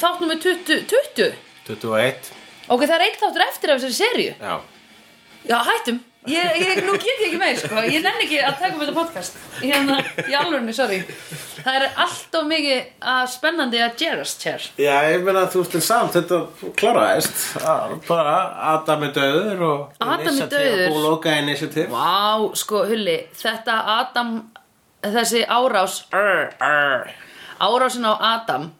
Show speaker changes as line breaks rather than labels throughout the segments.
þátt nummer 20, 20
21
Ok, það er eitt þáttur eftir af þessari serju
Já,
Já, hættum ég, ég, Nú get ég ekki meir, sko Ég nenni ekki að taka um þetta podcast Hérna, í alvörinu, sorry Það er allt of mikið að spennandi að gerast hér
já ég meina þú veist en samt þetta kláraðist Að- bara Adam er döður og
Adam er dauður.
Búlóka Initiative
Vá, sko, Hulli, þetta Adam, þessi árás, arr, arr, árásin á Adam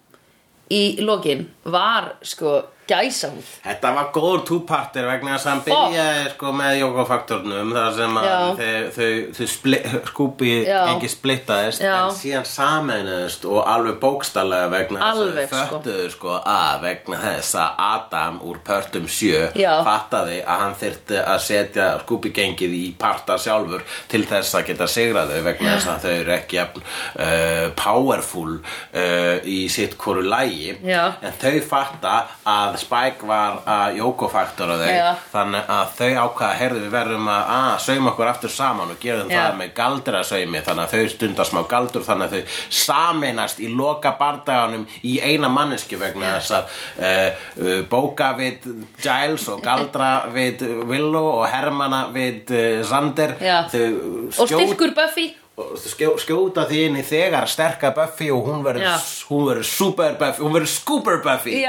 í lokin var, sko, gæsahúð.
Þetta var góður túpartir vegna þess að hann byrjaði sko með jókofaktornum þar sem
Oh.
að
Já.
þau, þau, þau spli, skúpi
Já.
ekki splittaðist
Já.
en síðan sameinuðist og alveg bókstallega vegna
Alveg,
þess að þau
sko.
föttuðu sko. að vegna þess að Adam úr pörtum sjö
Já.
fattaði að hann þyrfti að setja skúpigengið í parta sjálfur til þess að geta sigraðu vegna þess að þau eru ekki jafn, uh, powerful uh, í sitt hvoru lægi
Já.
En þau fatta að Spike var að jókofaktora þau
Já.
Þannig að þau ákvaða, heyrðu við verðum að, að sauma okkur aftur saman og gerum
Já.
það með galdra saumi Þannig að þau stunda smá galdur þannig að þau sameinast í loka bardaganum í eina mannesku vegna þess að uh, uh, bóka við Giles og galdra við Willow og Hermana við uh, Sander
Já.
Þau
Og
skjóta-
styrkur Buffy,
og skjó, skjóta því inn í þegar sterka Buffy og hún verður
Já.
hún verður super Buffy, hún verður scooper Buffy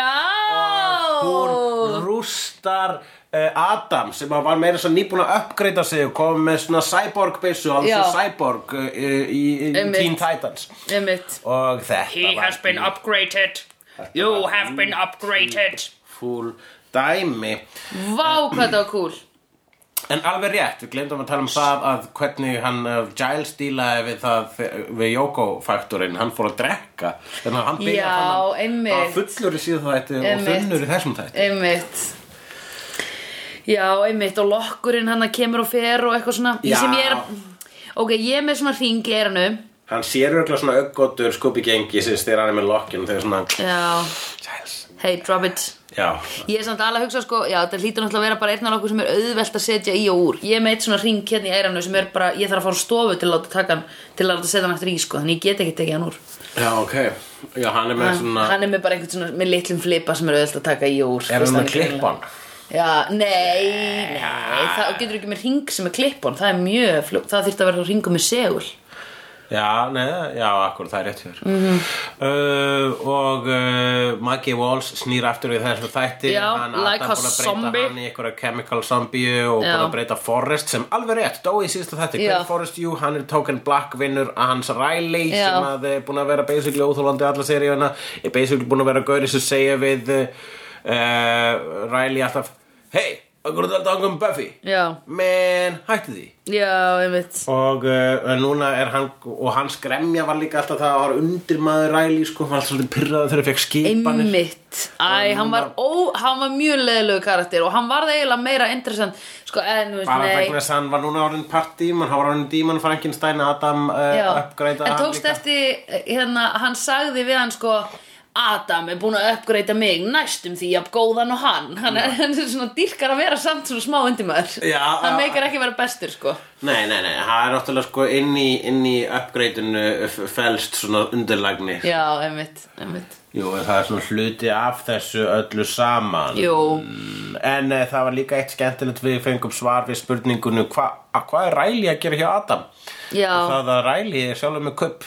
já, Oh.
hún rústar uh, Adam sem að var meira svo nýbúin að uppgreita sig og kom með svona cyborg byssu og
Já.
alveg cyborg uh, í, í
Einmitt.
Teen Titans
einmitt,
og þetta
He
var
has been upgraded. You have been upgraded.
fúl dæmi
vá hvað það var cool.
En alveg rétt, við glemdum að tala um það að hvernig hann uh, Giles dílaði við það eh, við Jóko-faktorinn, hann fór að drekka þannig að hann
Já,
byrja þannig
einmitt.
að fullur í síðan þætti og
Einmitt.
þunnur í þessum þætti
Einmitt Já, einmitt og lokkurinn hann kemur og fer og eitthvað svona
Já.
sem ég er Ok, ég er með svona hring í erinu
Hann sér örgulega svona öggotur skupi gengi sem styrir hann er með lokkinn og þegar svona
Já,
Giles
hey, drop it
Já,
Ég er samt alveg að hugsa sko, já, þetta hlýtur náttúrulega að vera bara einn af okkur sem er auðvelt að setja í og úr. Ég er með eitt svona ring hérna í eiranu sem er bara, ég þarf að fara á stofu til að láta taka hann, til að láta setja hann eftir í sko, þannig ég get ekki tekið hann úr.
já, ok Já, hann er með svona
Hann er með bara einhvern svona, með litlum flipa sem er auðvelt að taka í og úr.
Er
veist
hann
það
með klippan?
Já, nei, nei, það getur ekki með ring sem er klippon, það er mjög fljótt, það þýrt að vera ringum með segul.
Já, neða, já, akkur, það er rétt hér mm
Mhm.
-hmm. uh, Og uh, Maggie Walls snýr aftur við þessu þætti
Já,
hann
like a
Adam búin að breyta
zombie.
hann í einhverja chemical zombie og
Já.
búin að breyta Forrest sem alveg rétt, dói í síðasta þætti
Já.
Hver Forrest, jú, hann er token black vinnur að hans Riley
Já.
sem að er búin að vera basically óþólandi alla seríuna er basically búin að vera gauri sem segja við uh, Riley alltaf Hey, akkur er þetta angum Buffy
Já,
Man, hætti því
já, einmitt.
og uh, núna er hann og hans gremja var líka alltaf það að var undir maður ræli sko, hann var alltaf svolítið pirraður þegar hann fekk skipanir
Einmitt. Æ, hann var, ó, hann var mjög leðilegu karakter og hann var það eiginlega meira interessant, sko, en, þú veist,
bara
nei.
vegna þess að hann var núna orðin partdíman hann var orðin díman Frankenstein Adam uh,
Já,
uppgreita
en tókst eftir hérna, hann sagði við hann sko Adam er búin að uppgreita mig næstum því að góðan og hann hann er, hann er svona dýrkar að vera samt svona smá undirmaður
Mm. Já,
hann
já.
meikar ekki vera bestur sko
nei, nei, nei, það er náttúrulega sko inn í, inn í uppgreitinu felst svona undirlagni
já, einmitt, einmitt.
Jú, en það er svona hluti af þessu öllu saman
Jú.
Mm, En uh, það var líka eitt skemmtilegt við fengum svar við spurningunum Hvað hva er ræli að gera hjá Adam?
Já.
Og Það að ræli er sjálfur með kupp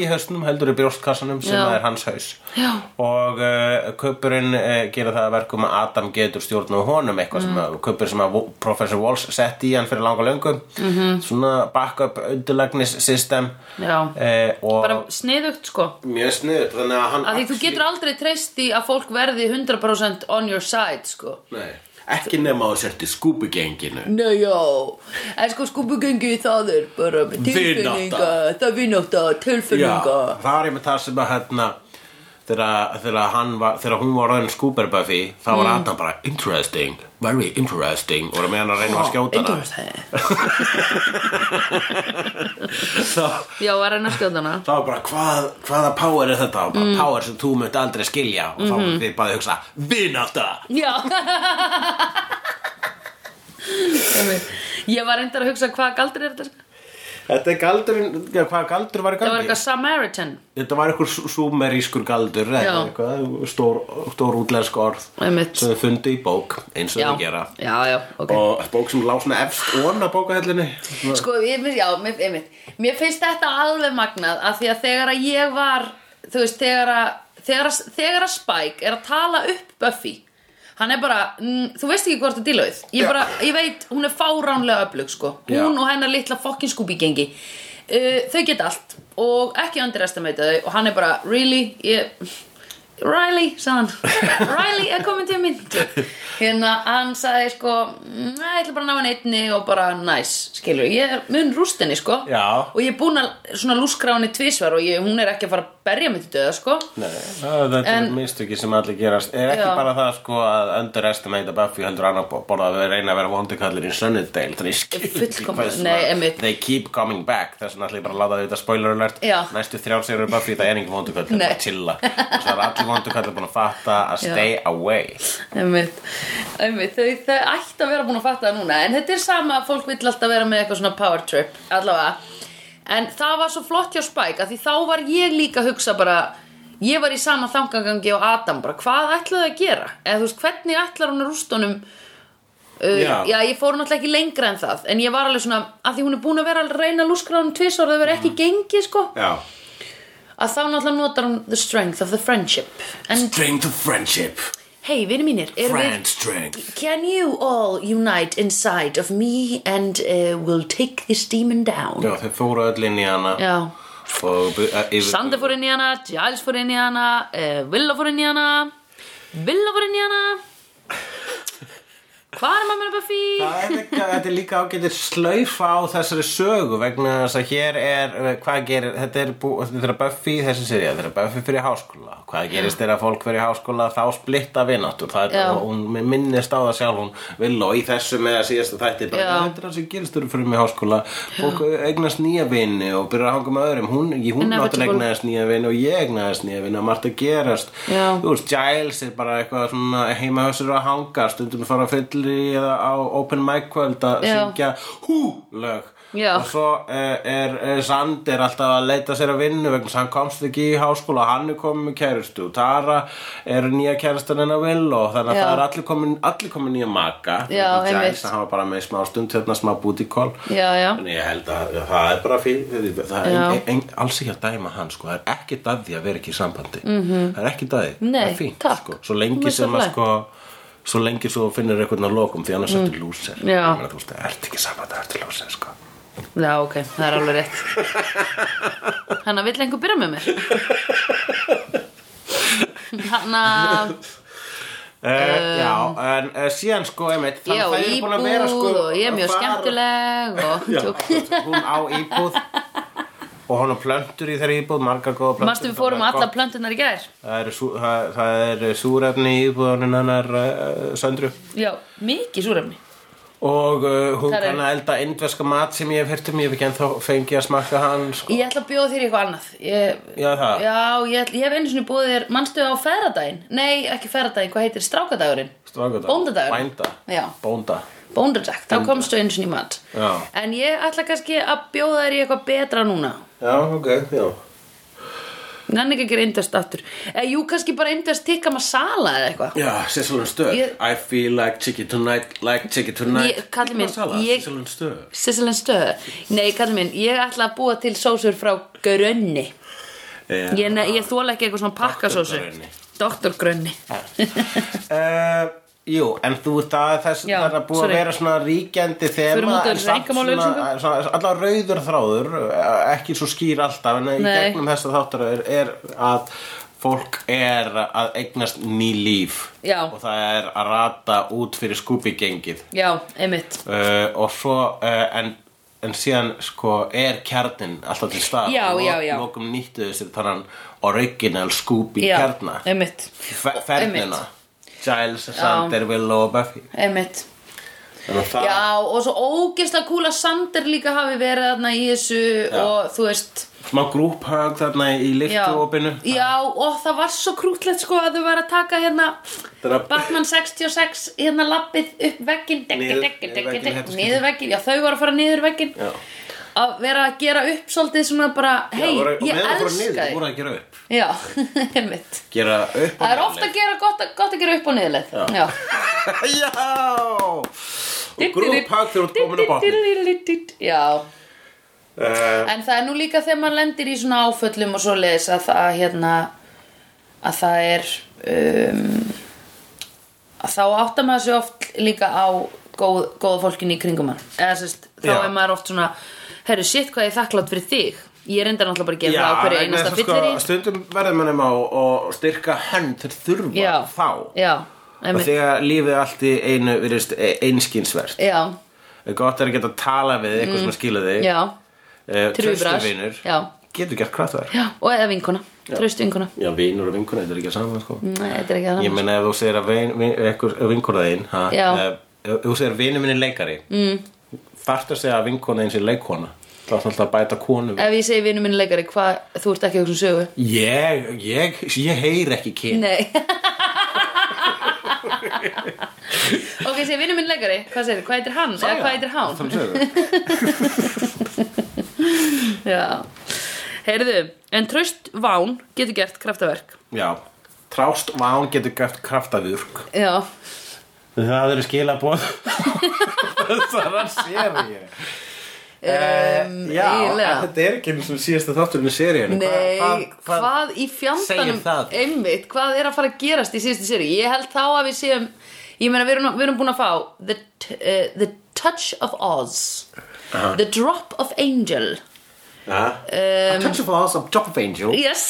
Já.
í hausnum, heldur í brjóstkassanum sem
Já.
það er hans haus
Já.
Og uh, kuppurinn uh, gera það að verkum að Adam getur stjórn á honum Eitthvað
Mm.
sem að kuppur sem að Wo- Professor Walsh setti í hann fyrir langa löngu mm -hmm. Svona backup undirlagnis system
Mhm. Já.
Eh, og
bara sniðugt sko
mjög sniðut Þannig að hann
að því þú getur aldrei treyst í að fólk verði 100% on your side sko
Nei, ekki nema að sérti skúpugenginu
Nei, já, en sko skúpugengi það er bara með
Vinátta.
tilfinninga, það er vinátta, tilfinninga.
það var einmitt það sem að hérna þegar, þegar, hann var, þegar hún var raun skúperbafi þá var
Mm.
Adam bara interesting, very interesting og meðan að reyna að skjóta hana
Interesting.
þá,
Já, að reyna að skjóta hana
þá var bara hvað, hvaða power er þetta og bara
Mm.
power sem þú mögt aldrei skilja og þá mm
Mhm.
-hmm. við bara að hugsa vináta
Já Ég var reyndar að hugsa hvað galdur er þetta sko?
Þetta er galdurinn, ja, hvað galdur var í
Það var
gangi?
eitthvað Samaritan
Þetta var eitthvað sú- súmerískur galdur eða
Já.
eitthvað, stór, stór útlensk orð
Einmitt.
sem þau fundu í bók eins og
Já,
þau gera
já, já, ok
og bók sem lá svona efst óna bókahellinni
Sko, ég, mér- já, mér, einmitt Mér finnst þetta alveg magnað af því að þegar að ég var þú veist, þegar að þegar að, þegar að Spike er að tala upp Buffy hann er bara, mm, þú veist ekki hvort að díla við ég, bara, ég veit, hún er fáránlega öflug sko. hún
Já.
og hennar litla fokkin skúbi gengi uh, þau geta allt og ekki underestimate þau og hann er bara, really ég, Riley, sagði hann Riley er komin til mín hérna, hann sagði sko "Mm, ég ætla bara að ná hann einni og bara nice, skilur, ég er mun rústinni sko
Já.
og ég er búin að svona lúskra hann í tvisvar og ég, hún er ekki að fara að berja mig til döða sko
Nei, það- þetta en,
En-
er mistöki sem allir gerast er ekki
Já.
bara það sko að underestimate Buffy heldur annar borða að við reyna að vera vondikallin í Sunnydale þannig ég skil ekki
Fullkomlega,
hvað svona-
nei, einmitt.
they keep coming back þess vegna allir bara að láta þetta spoiler alert
Já.
næstu þrjár sigur er Buffy það er engin vondikall það er
Nei.
bara chilla og svo er allir vondikallin búin að fatta
Já.
að stay away
einmitt, einmitt, þau, þau ætti að vera búin að fatta það núna en þetta er sama að fólk vill alltaf vera með eitthvað svona power trip allavega, en það var svo flott hjá Spike að því þá var ég líka að hugsa bara ég var í sama þangangangi og Adam bara, hvað ætlaðu að gera eða þú veist, hvernig ætlar hún að rústa honum uh,
Já.
já. ég fór náttúrulega ekki lengra en það en ég var alveg svona, að því hún er búin að vera að reyna að lúskra honum tvis og það verið ekki gengi sko,
Já.
að þá náttúrulega notar hún the strength of the friendship en
Strength of friendship
hei, vinni mínir, erum við
Friend strength
Can you all unite inside of me and uh, we'll take this demon down?
Já, þau fóru öll inn í hana
Já.
og bu- eh, yfir-
Sander fór inn í hana, Giles fór inn í hana, uh, Villa fór inn í hana, Villa fór inn í hana. Hvað er mamma Buffy?
Það er líka, þetta er líka ágætið slaufa á þessari sögu vegna þess að hér er, eh, hvað gerir, þetta er, bú, þetta er Buffy, þessi serið, þetta er Buffy fyrir háskóla. Hvað gerist þegar fólk fyrir háskóla þá splitta vinnáttur. Það
Já.
er, og hún minnist á það sjálf, hún vill og í þessu með að síðasta þætti, bara,
Já.
þetta er það sem gerist þegar fyrir mig háskóla. Fólk eignast nýja vinni og byrjar að hanga með öðrum. Hún, ég- hún
Inevitable.
náttúrulega eignaðist nýja vinni og ég eignaðist nýja vinni og margt að gerast.
Já.
Þú veist, Giles er bara eitthvað svona heima hjá sér að hanga, stundum að fara á fyllir eða á open mic kvöld að
Já.
syngja hú lög
Já.
og svo eh, er eh, Sander alltaf að leita sér að vinnu vegna þess að hann komst ekki í háskóla hann er komin með kærustu og Tara er nýja kærustan hennar vil og þannig að
Já.
það er allir komin, allir komin nýja maka
Já,
Giles,
einmitt.
að hafa bara með smá stund hérna smá booty call
Já, já.
en ég held að að það er bara fyrir það er
Já.
ein, ein, alls ekki að dæma hann sko. það er ekki dæði að vera ekki í sambandi
Mhm.
-hmm. það er ekki dæði, það
Nei,
er fínt
takk.
sko. svo
Þú
lengi
veist
sem
það
að
blær.
sko svo lengi svo finnir eitthvað að lokum því annars ertu lúser
Mm. Já.
Ég meina, þú veist, það ert ekki sambandi, það ertu lúser sko.
Já, ok, það er alveg rétt. Hanna, vill einhver byrja með mér? Hanna,
Uh, já, en uh, síðan sko einmitt,
ég á
þannig það er búin
Eh. íbúð
að vera sko
og ég er mjög skemmtileg og
Já,
Tjók.
hún á íbúð og hún á plöntur í þeirri íbúð margar góða plöntur
Mastu við fórum
Það er
alla
gott.
plöntunar í gær?
það er, sú, það, það er súrefni í íbúðunin hennar uh, söndru
Já, mikið súrefni
og uh, hún
Þar er-
kann að elda indverska mat sem ég hef heyrt um, ég hef ekki ennþá fengið að smakka hann sko.
Ég ætla að bjóða þér í eitthvað annað ég,
Já, það.
Já, ég, ætla, ég hef einu sinni búið þér Manstu á ferðardaginn? Nei, ekki ferðardaginn, hvað heitir strákadagurinn?
Strákadagur.
Bóndadagurinn
Bænda.
Já,
Bónda
bóndadag, þá komstu einu sinni í mat
Já.
En ég ætla kannski að bjóða þér í eitthvað betra núna
Já, ok, já
Nenni ekki að gera indast aftur eh, Jú, kannski bara indast tikka masala eða eitthvað
Já, Sessalun Stöð
Ég-
I feel like chicken tonight, like chicken tonight
Ég- kallið minn, ég-
Sessalun Stöð
Sessalinn stöð Nei, kallið minn, ég ætla að búa til sósur frá Grönni
yeah.
Ég, ne- ég þóla ekki eitthvað svona pakkasósu
Doktor Grönni.
Doktor Grönni
uh, Jú, en þú veist að þess
Já,
það er að búið
sorry.
að vera svona ríkjandi
Förum
þema
út úr
en samt
einkamál auglýsingum.
svona allar rauður þráður eh, ekki svo skýr alltaf en í
Nei.
gegnum þessa þáttaröður er að fólk er að eignast ný líf
Já.
og það er að rata út fyrir skúpigengið
Já, einmitt
uh, og svo uh, en, en síðan sko er kjarnin alltaf til stað
Já,
og
já, já.
lokum nýttu þessir þannan original Scooby
Já,
kjarna
einmitt,
Fe- fernina
einmitt.
Giles, Sander, Willow og Buffy
einmitt
Þannig að það-
Já, og svo ógeðslega kúl að Sander líka hafi verið þarna í þessu
Já.
og þú veist
smá grúphög þarna í
já,
lyftuopinu
já, og það var svo krútlegt sko að þau var að taka hérna
Þeirra-
Batman 66 hérna lappið upp veggin dekki, dekki,
Niður- niður
dekki,
vegginn, þetta
dekki,
skipti.
niður veggin já, þau var að fara niður veggin
Já.
að vera að gera upp svolítið svona bara, hei,
voru, og
ég
meðan þú fóru
elska
niður, þú
þig
voru að gera upp
Já, einmitt
Gera upp
Það er ofta að gera gott, að- gott að gera upp og niðurleið Já,
gera Já Og grúphag þegar þú ert komin á botni
Diddididididididid. Já,
uh,
en það er nú líka þegar maður lendir í svona áföllum og svoleiðis að það, hérna, að það er, um, að þá áttar maður sig oft líka á góð, góða fólkinni í kringum hann. Eða sérst, þá
Já.
er maður oft svona, herru, sitt hvað ég er þakklátt fyrir þig. Ég reyndar náttúrulega bara að gera
Já,
það á hverju
vegna
einasta
þess að
fyllir
sko, Stundum verður mannum á að styrka hönd þegar þurfa
Já,
þá
já,
Og
einmitt,
þegar lífið allt í einu virðist e- einskinsvert
já, Mm.
Gott er að geta tala við eitthvað sem að skila þig
já,
Eh,
Trúbrás.
traustu vinur
Já.
Getur gert kraftverk
já, og eða vinkona, tröst vinkona.
Já, vinur og vinkuna, þetta er ekki saman sko.
Nei, þetta er ekki það.
Ég meina ef þú segir að vin, vin, ekkur, vinkona þín ha,
Já.
eh, Ef þú segir vinur minn er leikari mm. Þarftu að segja að vinkona þín sé leikona Það er alltaf að bæta konu við.
Ef ég segi vinnu minn leikari, hvað, þú ert ekki að hugsa um sögu?
Ég, ég, ég heyr ekki kyn
Nei Ok, segi vinnu minn leikari, hvað segir Hvað heitir hann? Eða hvað heitir hán?
hann?
Já Heyrðu, en tröst ván getur gert kraftaverk
Já, trást ván getur gert kraftaðurk
Já,
Það eru skilabóð Þessar séri
um,
Eh, Já,
eiginlega.
þetta er ekki eins og síðasta þátturinn í seríunni
Nei, hvað,
hvað,
í fjandanum
segir það?
einmitt, hvað er að fara að gerast í síðustu séri? Ég held þá að við séum ég meina við erum, við erum búin að fá the, t- eh, the Touch of Oz The Drop of Angel
hvað A touch of us, a drop of angel
Yes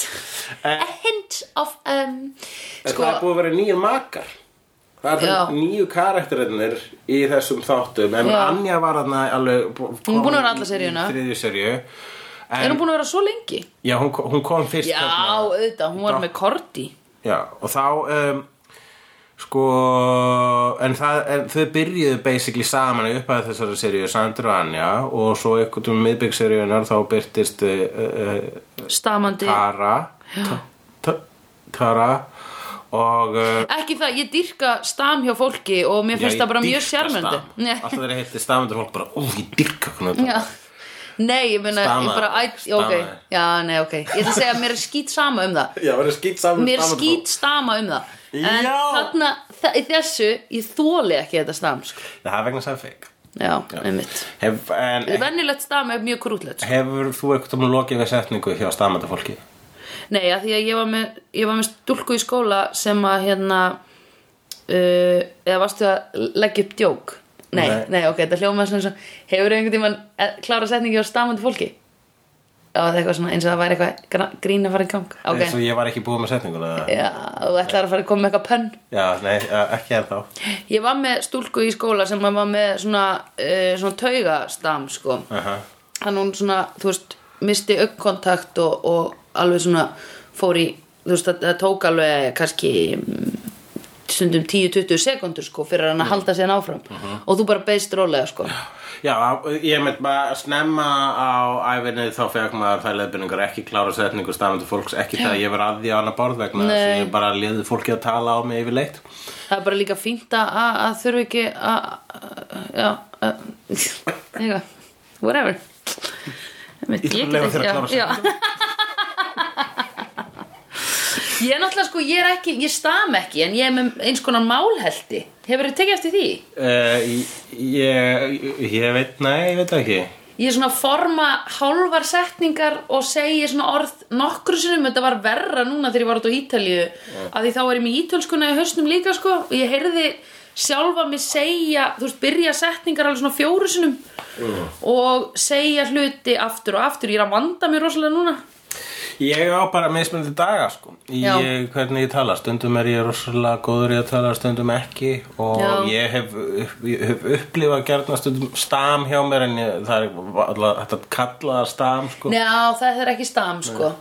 Eh.
A hint of um,
En það er
sko,
búið að vera nýjir makar Það
Já.
er nýju karakterinir í þessum þáttum En
Já.
Anja var þarna alveg Hún
er búin að vera alla seríuna.
Þriðju seríu
Er
En,
hún búin að vera svo lengi?
já, hún, ko- hún kom fyrst
Já,
þarna.
auðvitað, hún var
Hérna, Drop.
með Korti
já Og þá um, Sko En, það, en þau byrjuðu basically saman Í upphæðu þessari seríu Sandur og Anja Og svo einhvern um miðbyggseríunar Þá byrtist uh, uh,
Stamandi
Tara Ta- Ta- Tara Og uh,
Ekki það, ég dyrka stam hjá fólki og mér finnst
Já,
það bara
ég
mjög
dýrka
sjarmöndi
stam. Alltaf þegar ég heitti stamandur fólk bara, ó, ég dyrka hvernig
Já. Nei, ég meina, ég
Stamaði.
bara, æ, já, ok,
Stamaði.
já, nei, ok, ég ætla að segja að mér er skýt sama um það,
Já, verður skýt saman
mér er skýt stama um það, en
Já.
þarna, þa- í þessu, ég þóli ekki þetta stam, sko,
Það er vegna sæði feik
já, einmitt.
Hef, en,
Vennilegt stam er mjög krútlegt, sko.
Hefur þú eitthvað tóma lokið við setningu hjá stamandur fólki?
nei, að því að ég var með, ég var með stúlku í skóla sem að, hérna, uh, eða varstu að leggja upp djók, nei,
Nei.
nei, ok, þetta hljómaði svona, svona, hefur einhvern tímann eh, klárað setningi á stamandi fólki? Já, það er eitthvað svona, eins og það væri eitthvað gra- grín að fara í gang. Ok.
Eins og ég var ekki búið með setninguna eða?
Já, þú ætlar að fara að koma með eitthvað pönn
Já, nei, eh, ekki ennþá
Ég var með stúlku í skóla sem var með svona, uh, svona taugastam sko.
Aha.
Þannig hún svona, þú veist, misti augkontakt og, og alveg svona fór í, þú veist, það, það tók alveg kannski mm, stundum 10-20 sekundur sko fyrir hann að halda sér áfram og þú bara beist rólega sko
Já, ég með bara snemma á æfinni þá fekk maður þær leðbynningar ekki klára setningu stamandur fólks ekki það að ég var að því á hana borð vegna þess að
Nei.
ég bara liði fólki að tala á mig yfirleitt
það er bara líka fínt að, að að þurfi ekki að að- já, að- eitthvað, whatever Einmitt,
Ég
get
leyfa
ekki-
þér að
já,
klára
já. ég er náttúrulega sko ég er ekki, ég stam ekki en ég er með eins konar málhelti hefur þið tekið eftir því?
Uh, ég, ég veit, nei, ég veit það ekki
Ég er svona að forma hálfar setningar og segi svona orð nokkru sinnum, þetta var verra núna þegar ég var út á Ítalíu, að því þá er ég með ítölskuna í hausnum líka sko og ég heyrði sjálfa mig segja, þú veist, byrja setningar alveg svona fjóru sinnum og segja hluti aftur og aftur, ég er að vanda mér rosalega núna.
Ég á bara mismunandi daga sko í
Já.
eh, hvernig ég tala, stundum er ég rosalega góður í að tala, stundum ekki og
Já.
ég hef, upp- ég hef upplifað gerðna stundum stam hjá mér en ég, það er alltaf þetta kallaða stam sko
Já, það er ekki stam sko.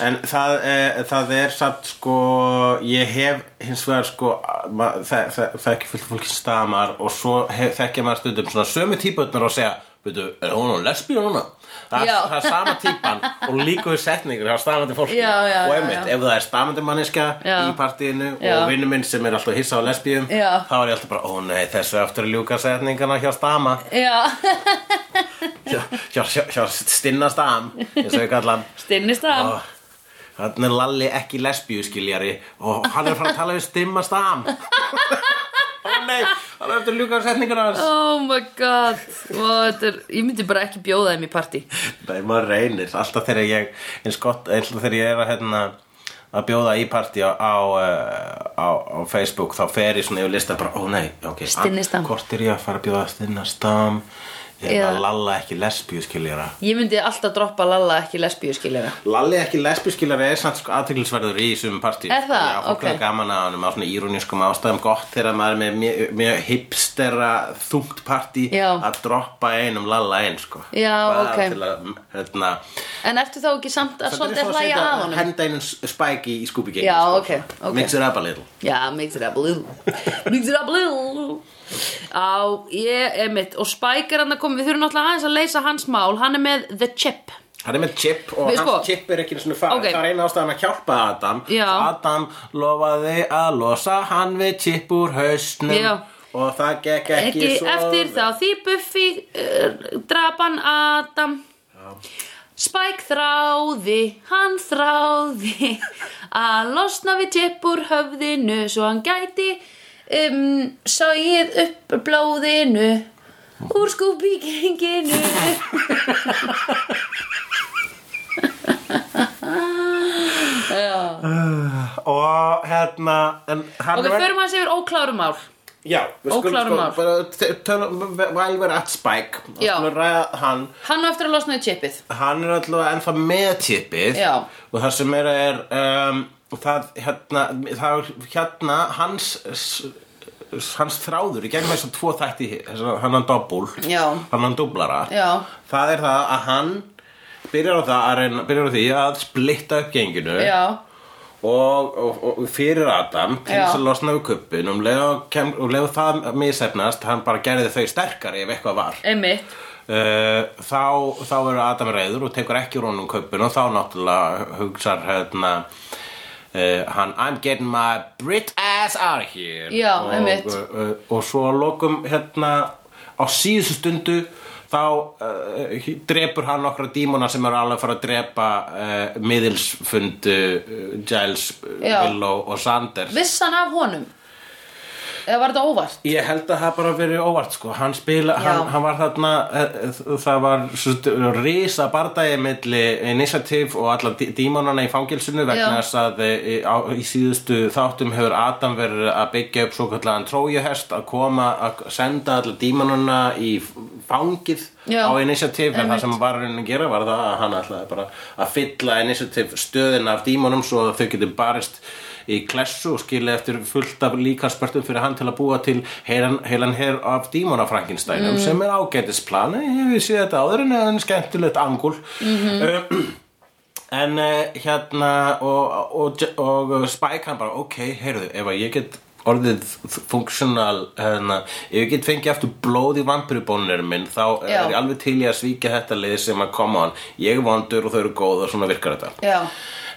en það, eh, það er satt sko ég hef hins vegar sko ma, það, það, það er ekki fullt fólki stamar og svo hef, þekkja maður stundum svona sömu típutnar og segja veitu, er hún á lesbíu núna? Það,
Já.
það er sama típan og líkuðu setningur hjá stamandi fólki
Já, já,
og
já,
einmitt,
já.
ef það er stamandi manneska
Já.
í partíinu
Já.
og vinnu minn sem er alltaf hissa á lesbíum
Já.
þá er ég alltaf bara, ó nei, þessu aftur að ljúka setningana hjá stama
Já,
hjá, hjá, hjá, hjá stinna stam eins og ég kalla hann
stinnist það
Ó, Þannig Ah, er Lalli ekki lesbíu skiljari og hann er frá að tala við stimma stam Ó nei, hann er eftir að ljúka setningur hans
Oh my god Ó, þetta er, Ég myndi bara ekki bjóða þeim í partí
Nei, maður reynir alltaf þegar ég eins gott, alltaf þegar ég er að hérna að bjóða í partí á, á, eh, á, á Facebook þá fer ég svona yfir lista bara, ó nei, ok
Stinni stam.
Hvort er ég að fara að bjóða stinnastam eða
Eða-
lalla ekki lesbíu skiljara
Ég myndi alltaf droppa Lalla ekki lesbíu skiljara
Lalli ekki lesbískilari er samt sko aðteglisverður í sumum partí
Er það?
Já, fólk
Ok.
er gaman að honum á svona írónískum ástæðum gott þegar maður er með mjög- mjög hipstera þungt partí
Já.
að droppa einum lalla einn sko
Já,
Bara
ok.
til að, hérna,
En ertu þá ekki samt að
Þetta er
svolítið að
svo að
hlæja
setja-
að honum?
Henda einum spæk í skúpigengin
Já, ok, ok.
Mix it up a little
Já, mix it up a little Mix it up a little Á, ég er mitt Og Spike er hann að koma, við þurfum náttúrulega aðeins að leysa hans mál Hann er með The Chip
Hann er með chip og
Við
hans
sko-
chip er ekki svona farið
Ok.
Það er eina ástæðan að hjálpa Adam
Já.
Adam lofaði að losa hann við chip úr hausnum
Já.
Og það gekk ekki,
Ekki
svo
eftir þá því Buffy uh, drapan Adam Spike þráði, hann þráði að losna við tipp úr höfðinu svo hann gæti um, sæð upp blóðinu úr skúpíkenginu Já,
Og hérna En hann
ok,
var
förum aðeins yfir óklárum mál
Já, við
Óklárum mál.
sko Tölum Valver at Spike Og
Já.
skulum ræða Hann
Hann á eftir að losna við tippið
hann er alltaf ennþá með tippið
Já.
og það sem er er um, það hérna, það, er hérna hans hans þráður í gegnum þessum tvo þætti þessum- hennan dobbul
Já.
hennan dublara
Já.
það er það að hann byrjar á, það að reyna, byrjar á því að splitta upp genginu
Já,
og, og, og fyrir Adam til
Já.
þess að losna við kuppin um leið og, kem, og leið og það misefnast hann bara gerði þau sterkari ef eitthvað var
einmitt
Uh, þá, þá verður Adam reyður og tekur ekki rónum kaupin og þá náttúrulega hugsar hérna uh, hann I'm getting my Brit ass out of here
Já,
og,
einmitt.
uh, uh, og svo að lokum hérna á síðustu stundu þá uh, drepur hann nokkra dímona sem eru alveg að fara að drepa uh, miðilsfundu uh, Giles, uh,
Já.
Willow og Sander
Viss hann af honum? Eða var þetta óvart?
Ég held að það bara verið óvart sko Hann spila, hann, hann var þarna eh, eh, Það var svo, risa bardagi milli eh, Initiative og alla dí- dímonana í fangilsinu vegna
Já.
þess að eh, á, í síðustu þáttum hefur Adam verið að byggja upp svo kallan trójuhest að koma að senda alla dímonana í f- fangið
Já.
á Initiative en
Einmitt.
það sem hann var að reyna að gera var það að hann ætlaði bara að fylla Initiative stöðin af dímonum svo að þau getur barist í klessu og skilja eftir fullt af líkarspörtum fyrir hann til að búa til heilan, heilan her af dímona
Mm.
Frankensteinum sem er ágætisplan við séð þetta áður en það er skemmtilegt angul
Mhm.
en eh, hérna og, og, og, Spike hann bara ok, heyrðu, ef að ég get orðið funksjonal hérna, ef ég get fengið aftur blóð í vampirubónir minn þá
Já.
er ég alveg til ég að svíkja þetta lið sem að koma á hann ég er vondur og þau eru góð og svona virkar þetta
Já,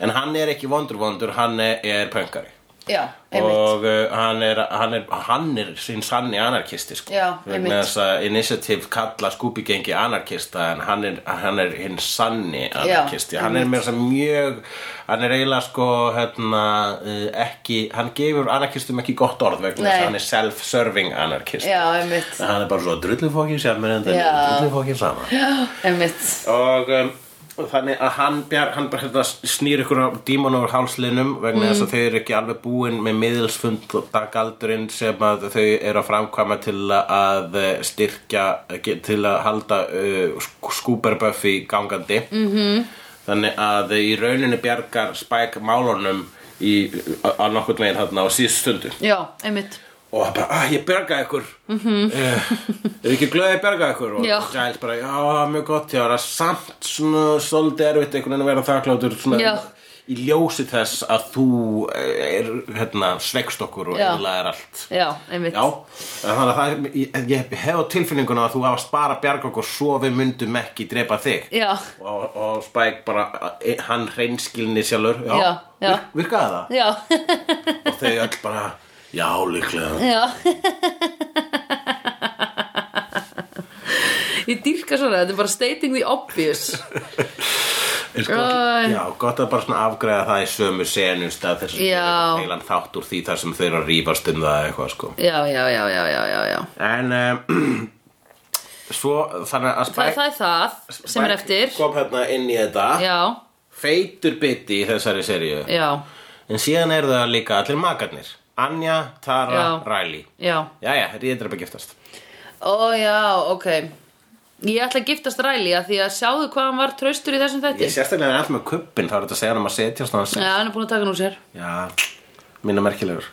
en hann er ekki vondur vondur, hann er, er pöngari
já, einmitt
og uh, hann er, hann er, hann er sín sanni anarkisti sko.
Já, einmitt.
vegna þess að Initiative kalla skúpigengi anarkista en hann er, hann er hinn sanni anarkisti hann er með þess að mjög hann er eiginlega sko hérna, uh, ekki, hann gefur anarkistum ekki gott orð vegna þess
Nei.
að hann er self-serving anarkist
Já, einmitt
hann er bara svo drullufókin saman en það er
Já.
drullufókin saman
Já, einmitt
og um, og þannig að hann, bjar, hann bara hérna, snýr ykkur á dímon over hálslinum vegna þess að þau eru ekki alveg búin með miðilsfund dagaldurinn sem að þau eru að framkvæma til að eh, styrkja til að halda uh, skúperböffi gangandi -hmm. þannig að í rauninu bjargar Spike málunum í, á, á nokkurn veginn þarna á síðust stundu
Já, einmitt
og hann bara, ah, ég bergaði ykkur mm -hmm. er ekki glöðið að ég bergaði ykkur og
Mhm. Já.
Giles bara, já, mjög gott ég var að samt svona svolítið erfitt einhvern veginn að vera þakkláttur svona,
Já.
í ljósi þess að þú eh, er, hérna, svegst okkur og
Já.
eðla er allt
Já, einmitt
Já, þannig að það, er- ég, ég hef á tilfinninguna að þú hafast bara að bjarga okkur svo við myndum ekki drepa þig
Já.
og, og Spike bara, eh, hann hreinskilni sjálfur Já,
Já, já.
Virk- virkaði það
Já,
og þau öll bara, já líklega
já Ég dýrka svona, þetta er bara stating the obvious
Er sko,
Æ.
Já, gott að bara svona afgræða það í sömu senum stað þess að
Já.
gera heilan þátt úr því þar sem þau eru að rífast um það eitthvað sko
Já, já, já, já, já, já, já
En um, svo þannig að
Það,
Spike
það er það sem er
Spike
eftir
kom hérna inn í þetta
Já,
feitur biti í þessari seríu
já,
en síðan eru það líka allir makarnir Anja, Tara,
Já.
Riley
já
Jæja, ríðir að giftast
Ó, já, ok Ég ætla að giftast Ræli að því að sjáðu hvað hann var traustur í þessum
Ég
þætti
sérstaklega er allt með kubbin þá er þetta að segja hann um að setjast á hans
Já, hann er búin að taka hann úr sér
Já, minna merkilegur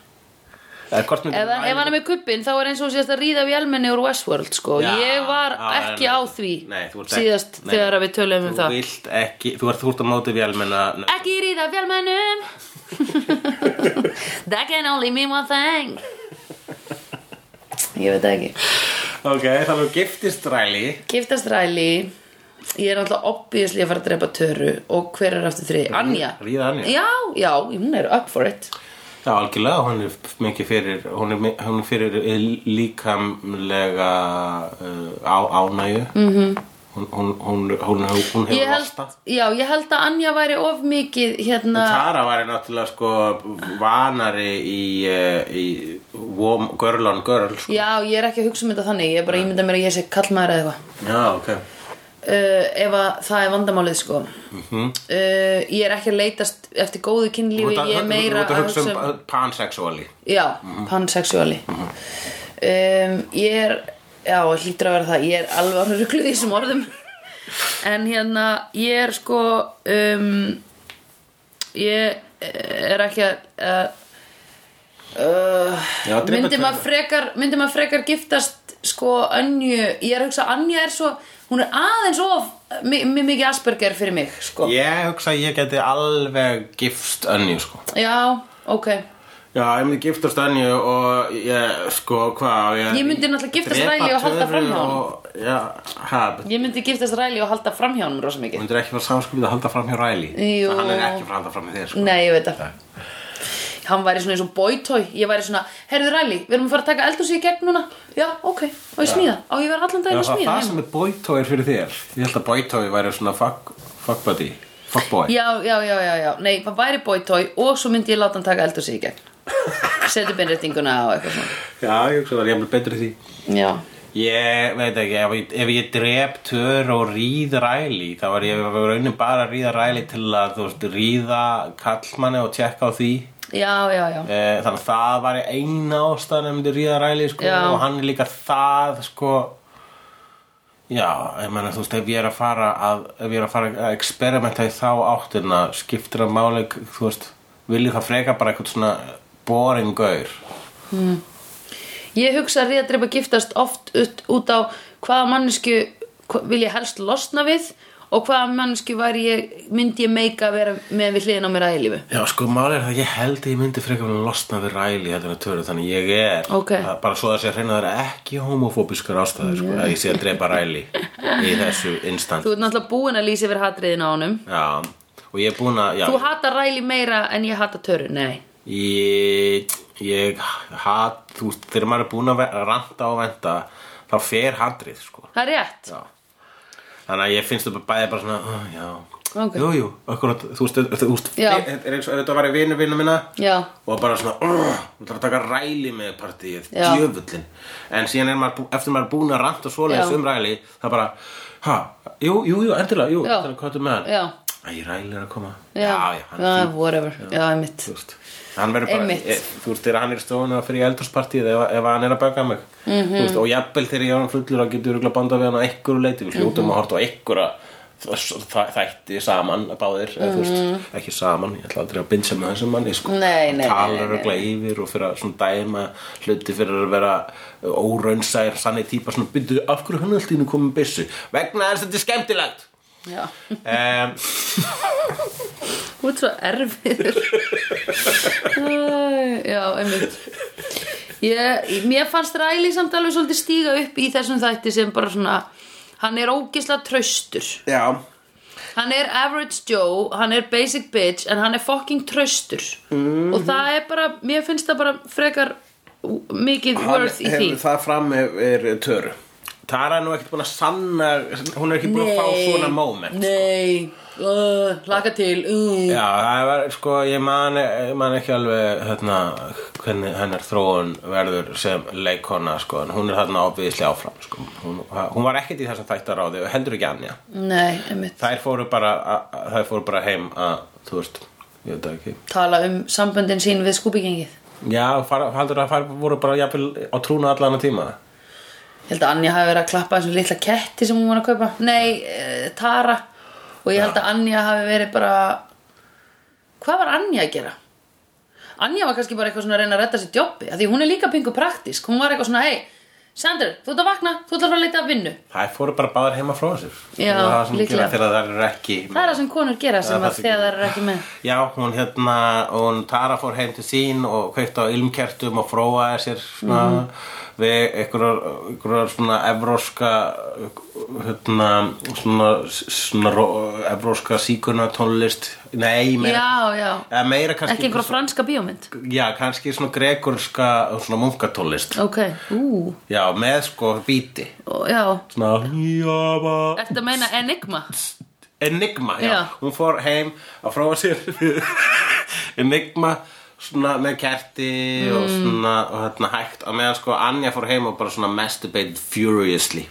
Eða hvort myndi
Ef, hann- ef hann er með kuppin þá er eins og sést að ríða við elmenni úr Westworld sko.
Já,
ég var
já,
ekki
já,
á
já.
því
Nei, þú ert ekki-
síðast
nei.
þegar að við töluðum um
Þú
það
vilt ekki, þú ert þúrt að móti við almenna
Ekki ríða við elmennum That can only mean one thing Ég veit það ekki
Ok, þannig að giftist Riley
Giftast Ræli Ég er alltaf obviously að fara að drepa Töru og hver er aftur þrið? Anja
Ríða Anja.
Já, já, hún er up for it
Já, algjörlega, hún er mikið fyrir hún er, mi- hún er fyrir líkamlega uh, á, ánægju -hmm. hún, hún, hún, hún, hún
Mhm. Ég
hefur
held,
lasta
já, ég held að Anja væri of mikið hérna
Tara var náttúrulega sko vanari í, eh, í warm, girl on girl sko.
Já, ég er ekki að hugsa um þetta þannig, ég er bara að ímynda mér að ég sé kallmaður eða eitthvað
Já, ok
uh, ef að það er vandamálið sko uh, ég er ekki að leitast eftir góðu
Mhm. Þú
kynlífi
ert að-
ég er meira
Þú ert að hugsa um eh, pansexuali
já,
Mhm.
pansexuali um, ég er já, hlýtur að vera það ég er alveg orðin rugluð í þessum orðum en hérna, ég er sko um, ég eh, er ekki að að- eh,
Já, drepa
myndi maður
tölvu.
frekar myndi maður frekar giftast sko önju, ég er að hugsa að Anja er svo hún er aðeins of mi- mi- mikið Asperger fyrir mig sko
Ég hugsa að ég geti alveg gifst önni sko
já, ok
Já, ég myndi giftast Anju og ég, sko, hvað
Ég myndi náttúrulega giftast
drepa
Riley og halda
Töru
framhjá honum.
og- Já, hæ,
ég myndi giftast Ræli og halda fram hjá hann rosa
þú
mikið
myndir ekki fara samskipið að halda fram hjá Riley
Jú.
Hann er ekki fara að halda fram hjá þér, sko
nei, ég veit það hann væri svona eins og boytoy ég væri svona, heyrðu Ræli, við erum að fara að taka eldhúsi í gegn núna já, ok, og ég smíða á ég verið allan
Já,
daginn að
það er
smíða hérna.
það
heima.
sem er boytoy fyrir þér Ég held að boytoy væri svona fuck, fuck buddy Fuck boy
já, já, já, já, já, nei, hann væri boytoy og svo myndi ég láta hann taka eldhúsi í gegn setja beinréttinguna og eitthvað svona
Já, ég hugsa það er jafnvel betri í því
já,
Ég veit ekki, ef ég, ef ég drep tör og ríð ræli þá var ég raunin bara að ríða ræli til að þú veist, ríða kallmanni og tjekka á því
já, já, já
e, þannig að það var eina ástæðan ef myndi ríða ræli sko,
Já.
og hann er líka það sko já, ég meina þú veist ef ég er að fara að, ef ég er að fara að experimenta í þá áttina skiptir að máli, þú veist viljið það freka bara eitthvað svona boring gaur
Ég hugsa að reyða dreipa giftast oft ut, út á hvaða mannesku hva, vil ég helst losna við og hvaða mannesku væri ég, myndi ég meika að vera með við hliðin á mér að eilífu.
Já, sko, málið er það að ég held að ég myndi frekar að losna við ræli heldur en að töru þannig ég er
Ok.
að, bara svo að sé að reyna það er ekki homofóbiskar ástæður sko, að ég sé að drepa ræli í þessu instant
Þú ert náttúrulega búin að lýsa yfir hatriðin á honum.
Já, og ég er búin að já,
Þú hatar ræli meira en ég hata töru, nei.
ég, ég hat, þú, veist, þegar maður er búin að ve- ranta og venda þá fer handrið, sko
Það er rétt.
já. Þannig að ég finnst þetta bæði bara svona "Ah, Já,
Ok.
jú, jú, akkurat, þú veist, þú veist
Já.
er eins og ef þetta var í vinu vinu minna
Já,
og bara svona "Urgh, þú þarf að taka ræli með partíið
Já.
djöfullin en síðan er maður, bú- eftir maður er búin að ranta svoleiðis
Já.
um ræli það bara, ha, jú, jú, jú, endilega jú,
Já.
það er kvartum með hann
Já.
Æ, ræli er að koma
já,
já, hann er fín,
whatever, já, einmitt.
þú veist hann verður bara,
Einmitt.
e, þú veist, þegar hann er stofan að fyrir eldurspartíð ef, ef hann er að baka mig mm
Mhm.
veist, og jafnvel þegar ég er hann fullur að getur örugglega bandað við hann á einhverju leiti, við
Mhm.
hljótum að horta á einhverja þ- þ- þætti saman báðir, eða, þú veist, ekki saman ég ætla aldrei að binsa með þessum manni sko.
Mhm. Nei, nei, nei, nei,
talar
nei.
og yfir og fyrir að svona dæma hluti fyrir að vera óraunsæðir sannir típa svona byrju af hverju hann alltaf innu komið byssu vegna þess að þetta er skemmtilegt
Já,
um,
Þú ert svo erfiður Æ, Já, einmitt ég, Mér fannst Ræli samt alveg svolítið stíga upp í þessum þætti sem bara svona Hann er ógisla traustur
Já,
Hann er average Joe, hann er basic bitch En hann er fucking traustur
Mm.
Og það er bara, mér finnst það bara frekar mikið
hann
worth í því
hefur það fram er töru Tara er nú ekkert búin að sanna hún er ekki búin að fá svona moment sko.
Nei, uh, laka til uh.
Já, það var, sko, ég man, ég man ekki alveg hérna, hvernig hennar þróun verður sem leikona, sko, en hún er þarna ábyggislega áfram, sko. Hún, hún var ekkert í þessum þættaráði og heldur ekki annja.
Nei, einmitt
Þær fóru bara, a- a- þær fóru bara heim að, þú veist, ég veit það ekki.
Tala um samböndin sín við skúbigengið
Já, fara, heldur að þær voru bara jafnvel á trúna allan að tíma.
Ég held að Anja hafi verið að klappa þessum litla ketti sem hún var að kaupa Nei, eh, Tara Og ég held að Anja hafi verið bara Hvað var Anja að gera? Anja var kannski bara eitthvað svona að reyna að redda sér djópi Því hún er líka pingu praktísk Hún var eitthvað svona, hei, Sandra, þú ert að vakna Þú ert að fara að leita að vinnu
Þær fóru bara báðar heima frá sér.
Já,
Og það sem
líklega.
gera Þegar þær eru ekki.
Það er það sem konur gera
Það er
sem
það
að
sem-
þegar það er ekki með
Já, hún hérna, hún Tara fór heim til sín og kveikt á ilmkertum og fróaði sér svona
Mhm.
við einhverjar, einhverjar svona evróska hérna, svona, svona ró- evróska síkuna tónlist Nei, meira,
Já, já,
eða meira kannski
ekki einhverja franska bíómynd
Já, kannski svona gregorska svona munkatólist
Ok, ú,
Já, með sko bíti
ó, já
Svona Jafa
Ertu að meina Enigma?
Enigma, já.
Já.
Hún fór heim að fróa sér við Enigma svona með kerti
Mm.
og svona og hérna hægt á meðan sko Anja fór heim og bara svona masturbate furiously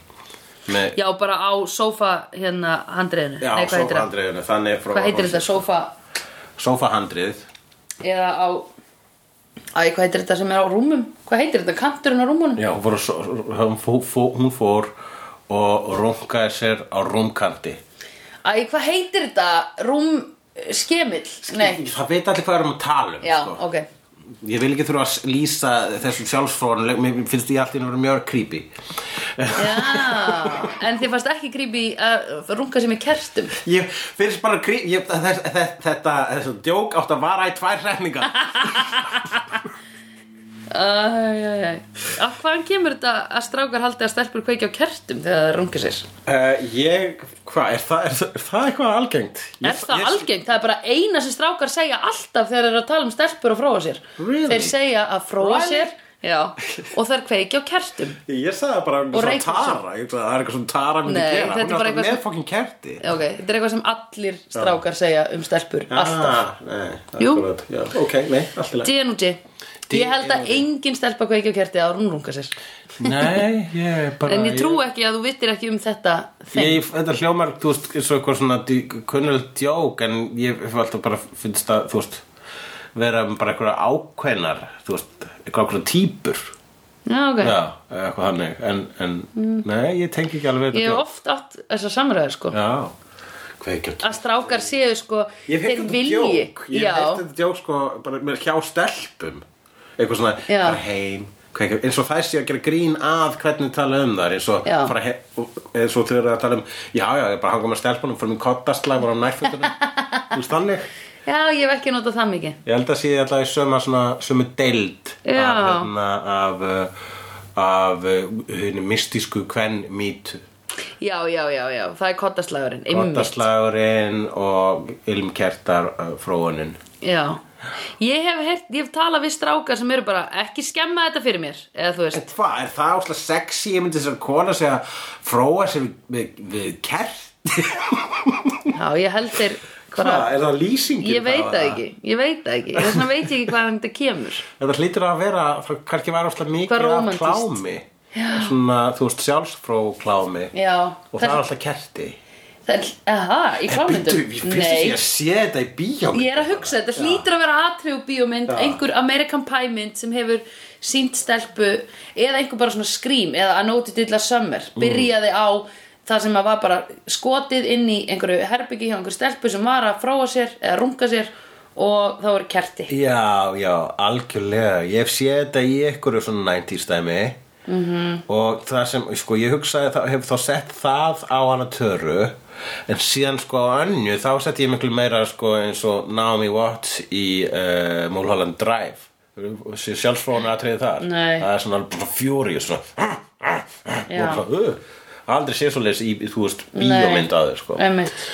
með,
Já, bara á sófa hérna handriðinu
já,
Nei, hvað heitir það?
sófahandriðinu þannig fróa
Hvað heitir þetta? Sófa
Sófahandrið
eða á Æ, hvað heitir þetta sem er á rúmum? Hvað heitir þetta? Kanturinn á rúmunum?
Já, hún fór, að so- hún fó, fó, hún fór og rungaði sér á rúmkanti
Æ, hvað heitir þetta? Rúm eh, skemill? sko. Nei,
Það veit allir hvað við erum að tala um
já,
sko.
ok
Ég vil ekki þurfa að s- lýsa þessum sjálfsfróðan Mér mér finnst ég alltaf að vera mjög creepy
Já, en þið fannst ekki grípi að runga sem er kertum
Ég finnst bara grí... Ég, þess, þess, þetta, þessu djók átt að vara í tvær hræfningar.
Æ, æ, æ Af hvaðan kemur þetta að strákar haldi að stelpur kveiki á kertum þegar það runga sér?
uh, ég, hvað, er, það- er, það- er það eitthvað algengt? Ég,
Er það
ég,
algengt? Það er bara eina sem strákar segja alltaf þegar þeir eru að tala um stelpur og fróa sér
Really?
Þeir segja að fróa
Really?
sér Já, og þær kveiki á kertum
Ég, ég sagði bara um
Og
svona
reykur svo.
Tara, ég, sagði, það er eitthvað svona Tara myndi
Nei,
gera.
þetta er
Hún
bara
er alltaf
eitthvað
með
sem-
fokkin kerti.
Ok, þetta er eitthvað sem allir strákar segja um stelpur Alltaf
Ah, nei,
Jú.
akkurat, já, ok, nei, allt í lagi.
D&G Ég held að
D&D.
engin stelpa kveiki á kerti áður en hún runga sér
Nei, Ah, ég bara...
En ég trú ekki að þú vittir ekki um þetta þeng
Ég, þetta hljómar, þú veist, eins og eitthvað svona dí- kunnul djók, en ég hef alltaf bara finnst að, þú veist, vera bara eitthvað ákveðnar, þú veist, eitthvað ákveðnar típur.
Já, ok
Já, eða eitthvað þannig En, en
Mm.
nei, ég tengi ekki alveg
Ég hef oft átt þessar samræður sko
Já, kveikjum
Að strákar séu sko
Ég hef
Þeir
heilt þetta
vilji
djók Ég hef heilt þetta djók sko, bara með hjá stelpum Eitthvað svona,
Já.
fara heim kveikja, eins og þær sé að gera grín að hvernig tala um þar eins og
Já.
fara heim eins og þau eru að tala um, já, já, ég bara hanga með stelpunum fyrir minn kottastlæg var á næfjöldunum Þú veist þannig
Já, ég hef ekki notað það mikið
Ég held að sé alltaf í söma svona sömu deild
Já.
af, hérna, af, uh, af uh, hinu mystísku kvenn mýtu
Já, já, já, já, það er kottaslagurinn einmitt.
Kottaslagurinn og ilmkertar uh, fróunin
Já, ég hef, heyrt, ég hef talað við strákar sem eru bara ekki skemma þetta fyrir mér eða þú veist,
Hvað, er það áslega sexy? Ég myndi þessar kona segja fróa sér við, við, við kert
já, ég held þeir bara,
Hvað, er það lýsingin?
ég veit
þá,
það
eða?
ekki ég veit það ekki, þess vegna veit ég ekki hvaðan þetta kemur
Þetta hlýtur að vera, það kannski var áslega
Hvað
mikið af
rómantískt.
klámi Svona, þú veist, sjálfsfró klámi
Já,
Og það
það
er
er,
alltaf kerti
það er, aha, í
Býtu,
klámyndum
ég finnst þess að
Nei,
ég sé þetta í bíó
ég er að hugsa, þetta hlýtur að vera atriðu bíómynd, einhver American Pie mynd sem hefur sínt stelpu eða einhver bara svona skrím eða að nóti til að sömmer, byrjaði á það sem að var bara skotið inn í einhverju herbyggi hjá einhverju stelpu sem var að fróa sér eða runga sér og þá voru kerti
Já, já, algjörlega Ég hef séð þetta í einhverju svona 90s dæmi
Mhm.
-hmm. og það sem, sko, ég hugsaði það, hef þá sett það á hana töru en síðan sko á önnu þá sett ég miklu meira sko eins og Naomi Watts í uh, Mulholland Drive sjálfsfrónu aðtriði þar
Nei.
það er svona bara fjóri svona,
Já.
og svona uh, aldrei sé svo leys í, í, þú veist, bíómynd að þau sko
Einmitt.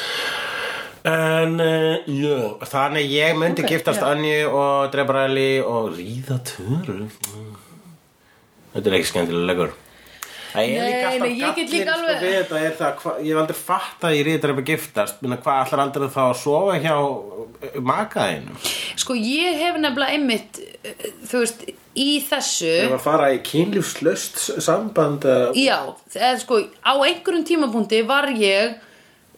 En, uh, jú, þannig ég myndi
Ok,
giftast
já.
Anju og Drebræli og ríða töru. Þetta er ekki skemmtilegur. Það er
Nei,
líka alltaf
nei, ég get
gallinn,
líka alveg-
Sko, við þetta er það, hva, ég hef aldrei fatt að ég ríða drepa giftast. Minna, hvað ætlar aldrei þá að sofa hjá eh, makaðinum?
Sko ég hef nefnilega einmitt eh, þú veist, í þessu
Ef að fara í kynlífslaust samband. Uh,
Já, eða sko á einhverjum tímapunkti var ég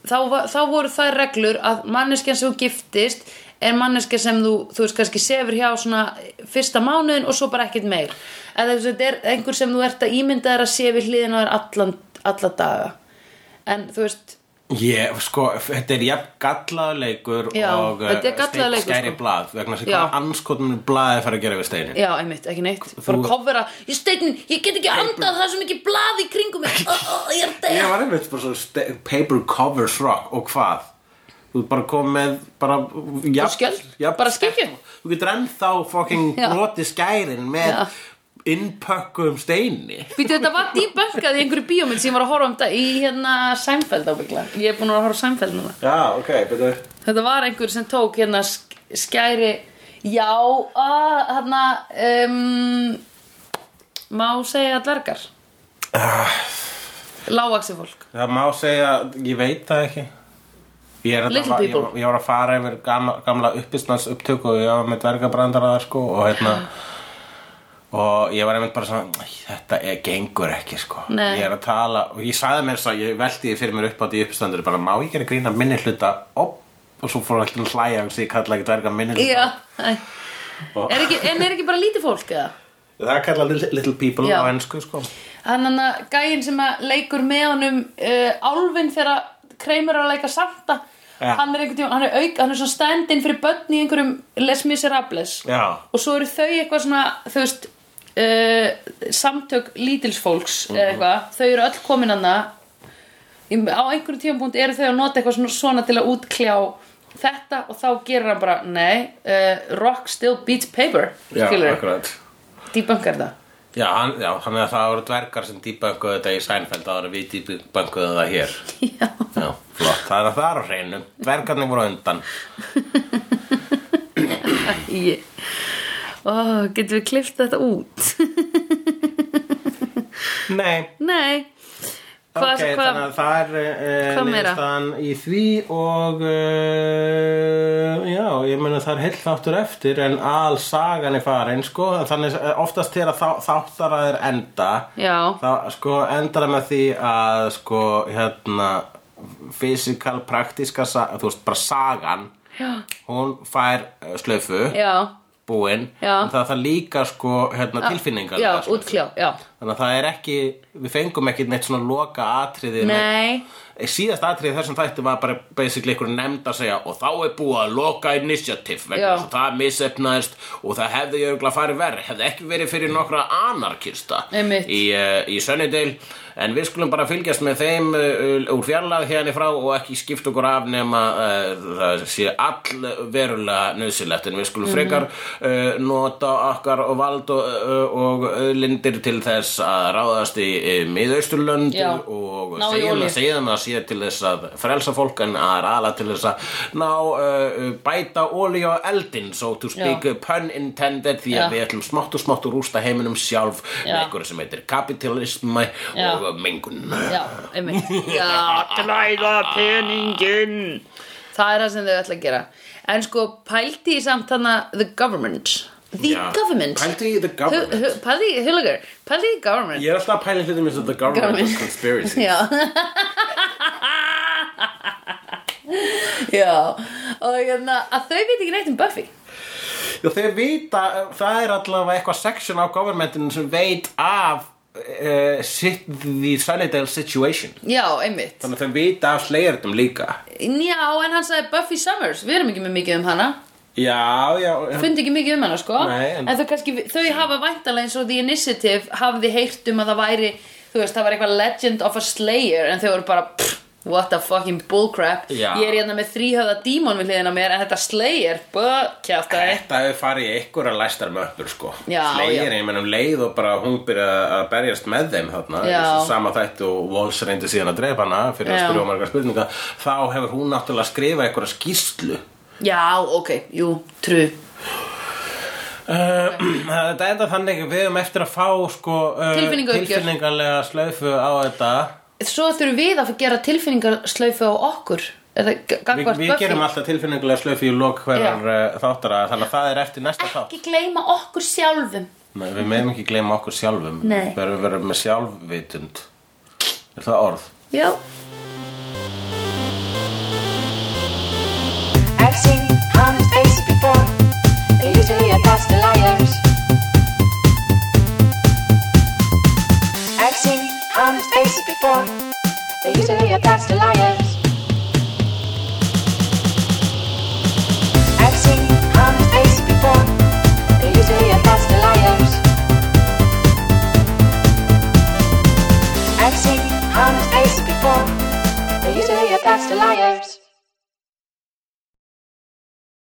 þá, va- þá voru þær reglur að manneskjan sem þú giftist er manneskja sem þú, þú veist kannski sefur hjá svona fyrsta mánuðin og svo bara ekkert meir eða þess að þetta er einhver sem þú ert að ímynda þér að sefi hliðin á þér allan, alla daga en þú veist
ég, sko, þetta er jafn gallaðleikur
Já,
og eh,
þetta er gallaður
Steinn
leikur,
skæri
sko.
blað. Vegna þess að
Já.
hvað anskotunum blaði fara að gera við steinin.
Já, einmitt, ekki neitt Bara
Þú-
kofvera, ég steinin, ég get ekki andað það er svo mikið blað í kringum mig oh, oh, Ég er
Ég
deg
var einmitt bara svo ste- paper cover rock og hvað? Þú ert bara komið með bara jafn,
skjöld, bara skekkju.
Þú getur ennþá fucking
Já.
brotið skærin með
Já.
innpökkuðum steini
Býtu, þetta var dýbökkað í einhverju bíómynd sem ég var að horfa um þetta í hérna Seinfeld ábyggla Ég er búin að vera að horfa á Seinfeld núna
Já, ok, betur
Þetta var einhver sem tók hérna sk- skæri Já, að, hérna um, Má segja dvergar Lávaxi fólk
Það má segja, ég veit það ekki Ég, er að-
Little
ég,
people.
ég var að fara yfir gamla, gamla uppisnans og ég var með dvergabrandara sko, og hérna og ég var einmitt bara svona "Æ, þetta er, gengur ekki sko
Nei.
ég er að tala og ég sagði mér svo ég velti því fyrir mér upp á því uppstandur bara má ég gera grína minni hluta op, og svo fór alltaf að hlæja og ég kalla ekki dverga minni hluta
Já, æ. er ekki, en er ekki bara lítið fólk eða?
það er kallað li- little people
Já.
á ennsku sko
Þannig að gæinn sem að leikur með honum uh, álfinn þegar kreimur að leika Santa
Ja.
hann er einhvern tímann, hann er auk, hann er svona stand-in fyrir börn í einhverjum Les Miserables
Já.
og svo eru þau eitthvað svona þau veist uh, samtök lítilsfólks
Mhm.
eða eitthvað, þau eru öll komin hana á einhverjum tímapunkt eru þau að nota eitthvað svona, svona til að útkljá þetta og þá gerir hann bara nei, uh, rock still beats paper
já,
skilur,
akkurat
dýbankar það
Já, hann, já, þannig að það voru dvergar sem dýbönguðu þetta í Sænfeld áður en við dýbönguðum það hér.
Já.
Já, flott. Það er að það er á hreinu. Dvergarnir voru á undan.
Ég... Ó, getum við klift þetta út?
Nei,
Nei. Hvað,
ok,
hvað,
þannig að það er uh,
hvað meira?
niðurstaðan í því og uh, já, ég meina það er heill þáttur eftir en al sagan er farin, sko. Þannig að oftast þegar þá, þáttaraðir enda,
Já.
þá sko endar það með því að sko, hérna, fysikal, praktíska, sa- þú veist, bara sagan,
Já.
hún fær eh, slaufu
Já,
búinn
Já.
en það það líka sko hérna, tilfinningar
já, útkljá, já.
þannig að það er ekki við fengum ekki neitt svona loka atriði
Nei.
Eh, síðasta atriði í þessum þætti var bara basically ykkur nefnd að segja og þá er búið að loka initiative vegna
Já.
þess að það missefnaðist og það hefði jögla farið verð hefði ekki verið fyrir nokkra anarkista
Einmitt.
í, uh, í Sunnydale en við skulum bara fylgjast með þeim uh, úr fjarlæð hérna frá og ekki skipt okkur af nema uh, það sé all verulega nöðsilegt en við skulum
Mhm.
frekar uh, nota okkar og vald og, uh, og auðlindir til þess að ráðast í uh, miðausturlönd
Já.
og
Ná í
segjum
olíu.
að segjan að sé til þess að frelsa fólk en að rala til þess að ná uh, bæta ólíu á eldin so to speak
Já.
pun intended því
Já.
að við ætlum smátt og smátt að rústa heiminum sjálf með
Já.
einhverju sem heitir kapitalismi
Já.
og mengun
Já, einmitt. Já,
Glæða peninginn.
það er það sem þau ætla að gera. En sko, pældi í samt hana the government. The
Já.
government.
Pældu í the government.
Hu- hu- Pældi í, hulagur, pældi í government.
Ég er alltaf að pæla í hlutum eins og the government
Government.
was conspiracy
Já Já Og hérna, að þau veit ekki neitt um Buffy
og þeir vita, það er allavega eitthvað section á governmentinu sem veit af uh, sit, the Sunnydale situation
Já, einmitt
þannig að þeir vita af slegjartum líka
Já, en hann sagði Buffy Summers Við erum ekki með mikið um hana
Já, já, já.
fundi ekki mikið um hana sko
Nei, en-
en þau, kannski, þau hafa væntalega eins og The Initiative hafði heyrt um að það væri þú veist, það var eitthvað Legend of a Slayer en þau voru bara pff, what the fucking bullcrap
Já.
ég er hérna með þríhöfða dímon við hliðina á mér en þetta Slayer, bökjaftaði
Þetta hefur farið í einhverja læstar möppur sko
Já, já.
Slegir einmennum leið og bara hún byrjaði að berjast með þeim þarna
Já.
þessi Sama þætti og Walls reyndi síðan að drepa hana fyrir að
Já.
spyrja um margar spurninga Þá hefur hún náttúrulega skrifað einhverja skýslu
já, ok, jú, trú
Uh, þetta enda þannig við höfum eftir að fá sko, uh,
Tilfinningauppgjör.
tilfinningarlega slaufu á þetta
svo þurfum við að gera tilfinningarslaufu á okkur eða
Vi,
gangvart
við gerum alltaf tilfinningarlega slaufu í lok hverjar uh, þáttara þannig að það er eftir næsta þátt
ekki gleyma okkur sjálfum
Nei, við meðum ekki gleyma okkur sjálfum
Nei.
við verðum verðum með sjálfvitund er það orð?
já
I've seen honest faces before. They're usually a pass to liars. I've seen honest faces before. They're usually a pass to liars. I've seen honest faces before. They're usually a pass to liars. I've seen honest faces before. They're usually a pass to liars.